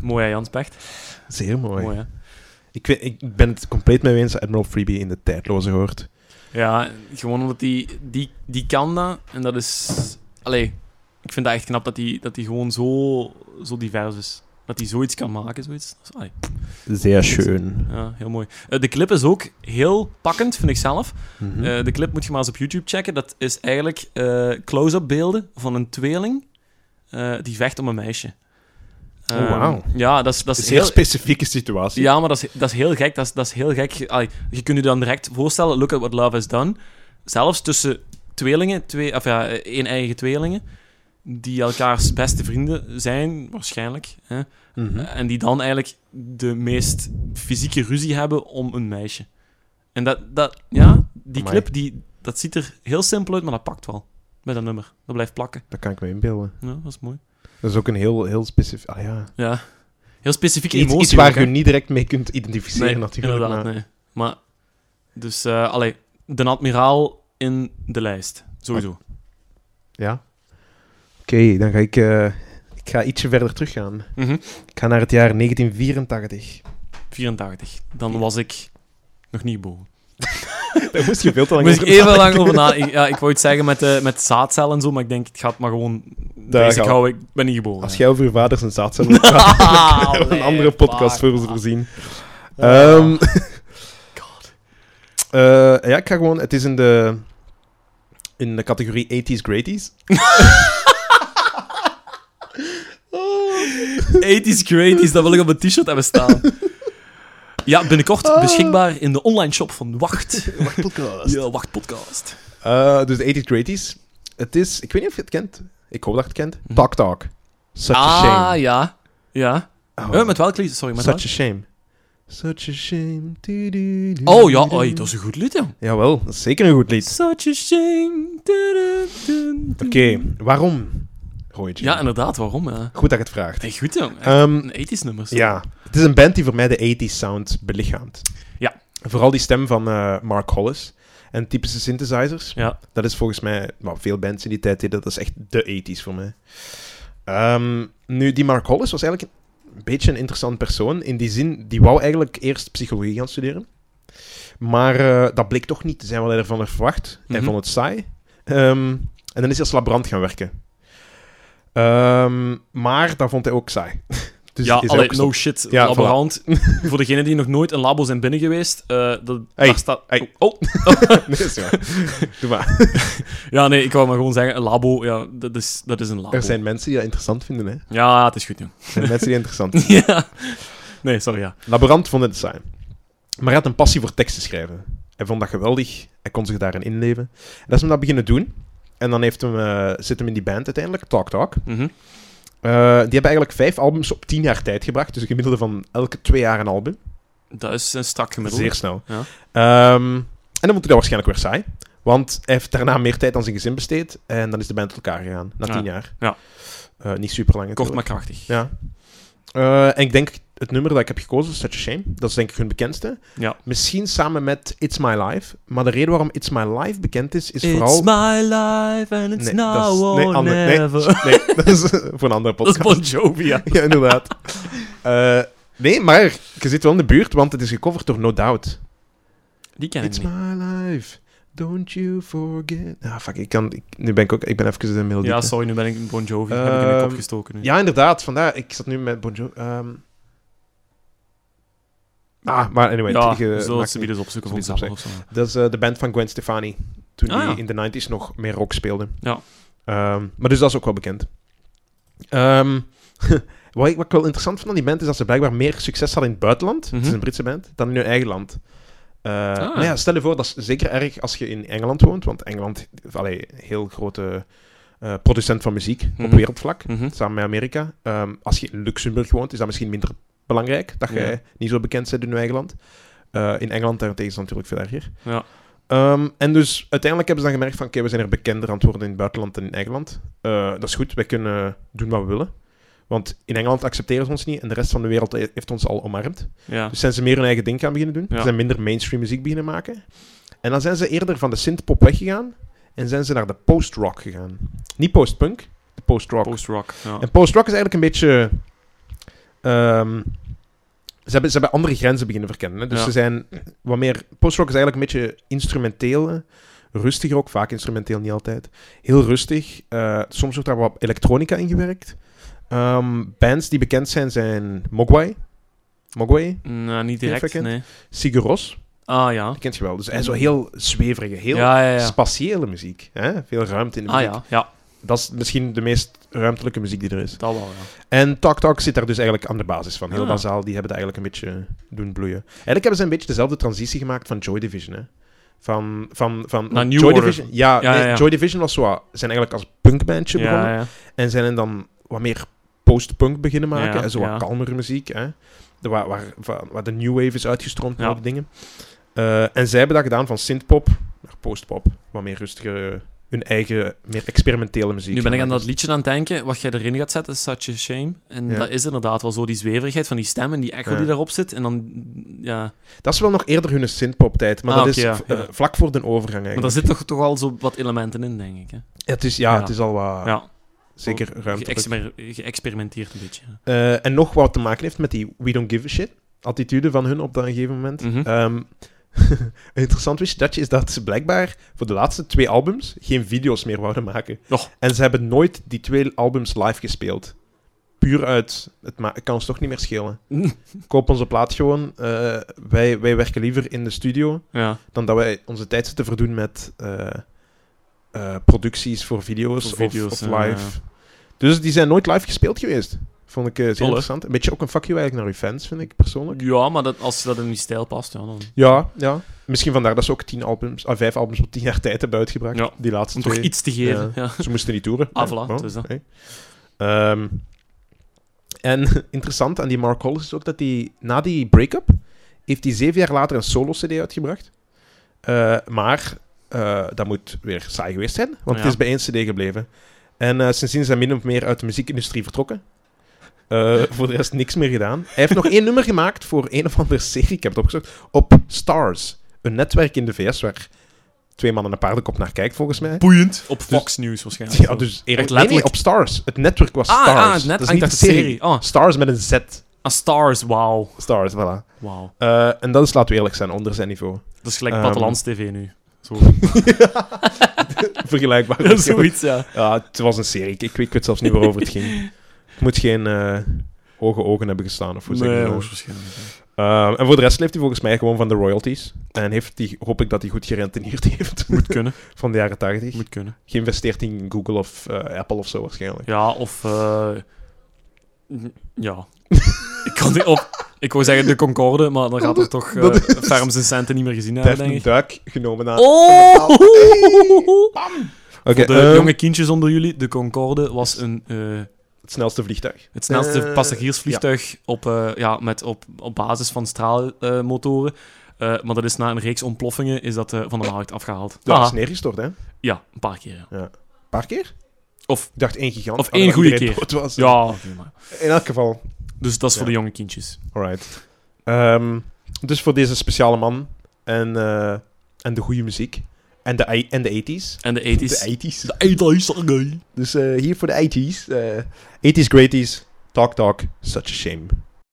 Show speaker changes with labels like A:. A: Mooi, hè, Jans Pecht.
B: Zeer mooi.
A: Mooi, hè?
B: Ik, weet- ik ben het compleet mee eens dat Admiral Freebie in de tijdloze hoort.
A: Ja, gewoon omdat die, die, die kan dat. En dat is... Allee, ik vind dat echt knap dat die, dat die gewoon zo, zo divers is. Dat hij zoiets kan maken, zoiets. Dat is- allee,
B: Zeer schön.
A: ja, heel mooi. Eh, de clip is ook heel pakkend, vind ik zelf.
B: Mhm.
A: Eh, de clip moet je maar eens op YouTube checken. Dat is eigenlijk eh, close-up beelden van een tweeling eh, die vecht om een meisje.
B: Oh,
A: Ehm,
B: wauw.
A: Ja, dat is, dat is
B: Zeer
A: heel...
B: specifieke situatie.
A: Ja, maar dat is, dat is heel gek. Dat is, dat is heel gek. Allee, je kunt je dan direct voorstellen, look at what love has done. Zelfs tussen tweelingen, twee, of ja, één eigen tweelingen, die elkaars beste vrienden zijn, waarschijnlijk. Hè?
B: Mhm.
A: En die dan eigenlijk de meest fysieke ruzie hebben om een meisje. En dat, dat ja, die
B: Amai.
A: clip, die, dat ziet er heel simpel uit, maar dat pakt wel. Met dat nummer. Dat blijft plakken.
B: Dat kan ik me inbeelden.
A: Ja, dat is mooi.
B: Dat is ook een heel, heel specifiek... Ah ja.
A: Ja. Heel specifieke
B: Iets,
A: emotie.
B: iets waar
A: ook, hè.
B: je niet direct mee kunt identificeren
A: Nee,
B: natuurlijk.
A: inderdaad,
B: maar-
A: nee. Maar, dus, eh allee, de admiraal in de lijst. Sowieso.
B: Ja. Oké, dan ga ik... eh, ik ga ietsje verder teruggaan.
A: Mhm.
B: Ik ga naar het jaar 1984.
A: 84. Dan was ik nog niet geboren.
B: Daar moest je veel te lang
A: Moest ik
B: over
A: even
B: nadenken.
A: lang over na. Ik, ja, ik wou het zeggen met, eh met zaadcellen en zo, maar ik denk, het gaat maar gewoon
B: Daar
A: basic
B: gaan we.
A: houden. Ik ben niet geboren.
B: Als
A: hè.
B: jij over je vader zijn zaad zou moeten praten, dan kunnen we een andere
A: Allee,
B: podcast voor ons
A: fuck.
B: voorzien.
A: Ah.
B: Ehm, eh, ja, ik ga gewoon... Het is in de... In de categorie 80s Greaties.
A: 80s Greaties, dat wil ik op mijn t-shirt hebben staan. Ja, binnenkort
B: Ah.
A: beschikbaar in de online shop van Wacht.
B: Podcast.
A: Ja, Wacht Podcast.
B: Eh, dus de 80s Greaties. Het is... Ik weet niet of je het kent. Ik hoop dat je het kent. Talk Talk. Such a
A: Mhm. Ah,
B: shame.
A: ja. Ja.
B: Oh,
A: Eh, met welk lied? Sorry, met welk?
B: Such a shame. Such a shame. Du- du- du-
A: Oh ja,
B: du-
A: oei, dat is een goed lied, ja.
B: Jawel, dat is zeker een goed lied.
A: Such a shame.
B: Oké, waarom? Roy Jim?
A: Ja, inderdaad, waarom? Ja.
B: Goed dat je het vraagt.
A: Hey, goed, jong. Echt
B: Ehm,
A: een 80s nummer. zo.
B: ja, het is een band die voor mij de 80s sound belichaamt.
A: Ja.
B: Vooral die stem van eh, Mark Hollis. En typische synthesizers.
A: Ja.
B: Dat is volgens mij, nou, veel bands in die tijd deden, dat is echt de 80s voor mij. Ehm, nu, die Mark Hollis was eigenlijk een beetje een interessant persoon. In die zin, die wou eigenlijk eerst psychologie gaan studeren. Maar eh, dat bleek toch niet te zijn wat hij ervan had verwacht. Hij
A: Mhm.
B: vond het saai. Ehm, en dan is hij als labrand gaan werken. Ehm, maar dat vond hij ook saai. Dus
A: ja,
B: is hij
A: allee,
B: ook gestopt.
A: no shit.
B: Ja,
A: Laborant. Voor degenen die nog nooit een labo zijn binnen geweest, eh, dat,
B: Hey,
A: daar staat...
B: hey.
A: Oh,
B: Nee, dat is waar. Doe maar.
A: ja, nee, ik wou maar gewoon zeggen, een labo, ja, dat is, dat is een labo.
B: Er zijn mensen die dat interessant vinden, hè. Er
A: Ja, het is goed, jong.
B: zijn mensen die het interessant
A: ja. Nee, sorry, ja.
B: Laborant vond het saai. Maar hij had een passie voor teksten schrijven. Hij vond dat geweldig. Hij kon zich daarin inleven. En dat is hem dat beginnen doen. En dan heeft hem, eh, zit hem in die band uiteindelijk, Talk Talk.
A: Mhm.
B: Eh, die hebben eigenlijk vijf albums op tien jaar tijd gebracht. Dus een gemiddelde van elke twee jaar een album.
A: Dat is een strak gemiddelde.
B: Zeer snel.
A: Ja.
B: Ehm, en dan vond hij dat waarschijnlijk weer saai. Want hij heeft daarna meer tijd aan zijn gezin besteed. En dan is de band tot elkaar gegaan. Na
A: Ja.
B: tien jaar.
A: Ja.
B: Eh, niet super lang.
A: Kort maar krachtig.
B: Ja. Eh, en ik denk het nummer dat ik heb gekozen, Such a Shame, dat is denk ik hun bekendste.
A: Ja.
B: Misschien samen met It's My Life. Maar de reden waarom It's My Life bekend is, is
A: It's
B: vooral...
A: my life and it's
B: Nee, dat
A: now
B: is-
A: or
B: nee, ander- nee.
A: never.
B: Nee, dat is eh, voor een andere
A: Dat is
B: podcast.
A: Bon Jovi, ja.
B: ja, inderdaad. Eh, nee, maar je zit wel in de buurt, want het is gecoverd door No Doubt.
A: Die ken ik
B: It's
A: niet.
B: my life, don't you forget... Ah, fuck, ik kan... ik- nu ben ik ook... Ik ben even de melodie.
A: Ja,
B: kwijt.
A: sorry, nu ben ik Bon Jovi. heb ik in de kop
B: Ehm,
A: gestoken nu.
B: Ja, inderdaad. Vandaar, ik zat nu met Bonjour. Ah, maar anyway.
A: ja, dus
B: het- je-
A: zullen we
B: maakt
A: ze
B: niet-
A: weer eens opzoeken
B: ze
A: van
B: weer eens
A: zelf of zo.
B: Dat is eh, de band van Gwen Stefani. Toen
A: Ah, ja.
B: die in de 90s nog meer rock speelde.
A: Ja.
B: Ehm, maar dus dat is ook wel bekend. Ehm, wat, ik, wat ik wel interessant vond aan die band is dat ze blijkbaar meer succes hadden in het buitenland. Het is
A: Mhm.
B: een Britse band. Dan in hun eigen land. Eh,
A: Ah.
B: Maar ja, stel je voor, dat is zeker erg als je in Engeland woont. Want Engeland, allee, heel grote eh, producent van muziek op
A: Mhm.
B: wereldvlak
A: Mhm.
B: samen met Amerika. Ehm, als je in Luxemburg woont, is dat misschien minder belangrijk. Dat jij
A: Ja.
B: niet zo bekend bent in je eigen land. Eh, in Engeland daarentegen is dat natuurlijk veel erger.
A: Ja.
B: Ehm, en dus uiteindelijk hebben ze dan gemerkt van... Oké, we zijn er bekender aan het worden in het buitenland dan in Engeland. Eh, dat is goed, wij kunnen doen wat we willen. Want in Engeland accepteren ze ons niet en de rest van de wereld he- heeft ons al omarmd.
A: Ja.
B: Dus zijn ze meer hun eigen ding gaan beginnen doen.
A: Ja.
B: Ze zijn minder mainstream muziek beginnen maken. En dan zijn ze eerder van de synthpop weggegaan en zijn ze naar de post-rock gegaan. Niet post-punk, de post-rock.
A: Post-rock. Ja.
B: En post-rock is eigenlijk een beetje Ehm, ze, hebben, ze hebben andere grenzen beginnen verkennen. Hè? Dus
A: Ja.
B: ze zijn wat meer... Post-rock is eigenlijk een beetje instrumenteel. hè. Rustig ook, vaak instrumenteel, niet altijd. Heel rustig. Eh, soms wordt daar wat elektronica in gewerkt. Ehm, bands die bekend zijn, zijn Mogwai. Mogwai,
A: Nou, niet direct,
B: Perfect.
A: nee.
B: Sigur Ros.
A: Ah, ja.
B: Dat kent je wel. Dus hij is zo heel zweverige, heel
A: ja, ja, ja.
B: spatiële muziek. Hè? Veel ruimte in de
A: Ah,
B: muziek.
A: ja. Ja,
B: Dat is misschien de meest ruimtelijke muziek die er is.
A: dat wel, ja.
B: En Talk Talk zit daar dus eigenlijk aan de basis van. Heel
A: Ah.
B: bazaal, die hebben dat eigenlijk een beetje doen bloeien. Eigenlijk hebben ze een beetje dezelfde transitie gemaakt van Joy Division, hè. Van, van, van
A: Naar New
B: Joy
A: Order.
B: Division. Ja,
A: Ja,
B: nee,
A: ja, ja.
B: Joy Division was zo, wat- zijn eigenlijk als punkbandje begonnen.
A: Ja, ja.
B: En zijn dan wat meer post-punk beginnen maken.
A: Ja,
B: en zo wat
A: ja.
B: kalmere muziek. Hè? De, waar, waar, waar- waar de new wave is uitgestroomd en
A: Ja.
B: al die dingen. Eh, en zij hebben dat gedaan van synthpop naar postpop. Wat meer rustige, hun eigen, meer experimentele muziek.
A: Nu ben ik aan
B: gemaakt
A: dat liedje aan het denken. Wat jij erin gaat zetten is Such a Shame. En
B: Ja.
A: dat is inderdaad wel zo, die zweverigheid van die stem en die echo
B: Ja.
A: die daarop zit. En dan, ja...
B: is. Dat is wel nog eerder hun synthpop-tijd. Maar
A: Ah,
B: dat
A: oké,
B: is
A: ja,
B: v-
A: ja.
B: eh, vlak voor de overgang
A: Maar
B: eigenlijk.
A: daar zit toch, toch al zo wat elementen in, denk ik. Hè?
B: het is, ja,
A: Ja.
B: het is al wat...
A: Ja.
B: Zeker ruimte.
A: Geëxper- Geëxperimenteerd een beetje. ja.
B: Eh, en nog wat te maken heeft met die we don't give a shit attitude van hun op dat gegeven moment.
A: Mhm.
B: Ehm, een interessant wist je dat je is dat ze blijkbaar voor de laatste twee albums geen video's meer wouden maken.
A: Och.
B: En ze hebben nooit die twee albums live gespeeld. Puur uit, het ma- kan ons toch niet meer schelen. Koop onze plaat gewoon. Eh, wij, wij werken liever in de studio
A: ja.
B: dan dat wij onze tijd zitten verdoen met eh, eh, producties voor video's,
A: Voor
B: of-
A: video's, eh,
B: of,
A: ja,
B: live. Dus die zijn nooit live gespeeld geweest. Vond ik eh, zeer
A: Tolle.
B: interessant. Een beetje ook een fuck you eigenlijk naar uw fans, vind ik persoonlijk.
A: ja, maar dat, als dat in die stijl past, ja, dan...
B: Ja, ja. Misschien vandaar dat ze ook tien albums, ah, vijf albums op tien jaar tijd hebben uitgebracht.
A: Ja.
B: Die laatste
A: Om toch
B: twee.
A: iets te geven. Ja.
B: Ze moesten niet toeren.
A: Ah,
B: Ja,
A: voilà,
B: wel,
A: dus dat.
B: oké. Ehm, en interessant aan die Mark Hollis is ook dat hij na die break-up heeft hij zeven jaar later een solo-cd uitgebracht. Eh, maar eh, dat moet weer saai geweest zijn, want
A: Ja.
B: het is bij één cd gebleven. En eh, sindsdien zijn min of meer uit de muziekindustrie vertrokken. Eh, voor de rest niks meer gedaan. Hij heeft nog één nummer gemaakt voor een of andere serie, ik heb het opgezocht, op Stars. Een netwerk in de VS waar twee mannen een paardenkop naar kijkt, volgens mij.
A: Boeiend. Op Fox News waarschijnlijk.
B: Dus Ja, dus eerlijk, nee, nee,
A: letterlijk-
B: op Stars. Het netwerk was
A: Ah,
B: Stars.
A: ah, het net,
B: Dat is
A: ah, ik
B: niet
A: dacht
B: de
A: de
B: serie.
A: serie. Ah.
B: Stars met een Z.
A: Ah, Stars, wauw.
B: Stars, voilà.
A: Wauw.
B: Eh, en dat is, laten we eerlijk zijn, onder zijn niveau.
A: Dat is gelijk
B: Ehm.
A: Plattelands TV nu. Zo.
B: Vergelijkbaar.
A: Ja, zoiets, ja.
B: Ja, het was een serie. Ik, ik, weet- ik weet zelfs niet waarover het ging. Het moet geen eh, hoge ogen hebben gestaan, of hoe zeg je dat?
A: hoogstwaarschijnlijk. ja.
B: Eh, en voor de rest leeft hij volgens mij gewoon van de royalties. En heeft die, hoop ik dat hij goed gerentineerd heeft
A: Moet kunnen,
B: van de jaren 80.
A: moet kunnen.
B: Geïnvesteerd in Google of eh, Apple of zo waarschijnlijk.
A: Ja, of... eh, n- ja. ik kan niet op... Ik wou zeggen de Concorde, maar dan gaat er toch eh
B: dat is-
A: Ferm zijn centen niet meer gezien
B: Hij heeft
A: hebben, denk
B: een
A: ik.
B: duik genomen aan...
A: Oh!
B: Oké,
A: De
B: ehm,
A: jonge kindjes onder jullie, de Concorde was een, eh,
B: het snelste vliegtuig.
A: het snelste
B: Eh,
A: passagiersvliegtuig op, eh, ja, met, op, op basis van straalmotoren. Eh, maar dat is na een reeks ontploffingen is dat eh, van de markt afgehaald.
B: Dat
A: Aha.
B: is neergestort, hè? Een
A: Ja, een paar keer. ja.
B: paar keer?
A: Of-
B: Ik dacht één gigant.
A: of
B: Ah, dat
A: één goede
B: iedereen
A: keer.
B: dood was.
A: Ja, oké, maar-
B: In elk geval.
A: dus dat is voor
B: Ja.
A: de jonge kindjes.
B: Alright. Ehm, dus voor deze speciale man en, eh, en de goede muziek. En de, ei- en de 80s.
A: En de 80s.
B: De 80s.
A: De 80s.
B: Dus eh, hier voor de 80s. eh 80s, greaties. Talk, talk. Such a shame.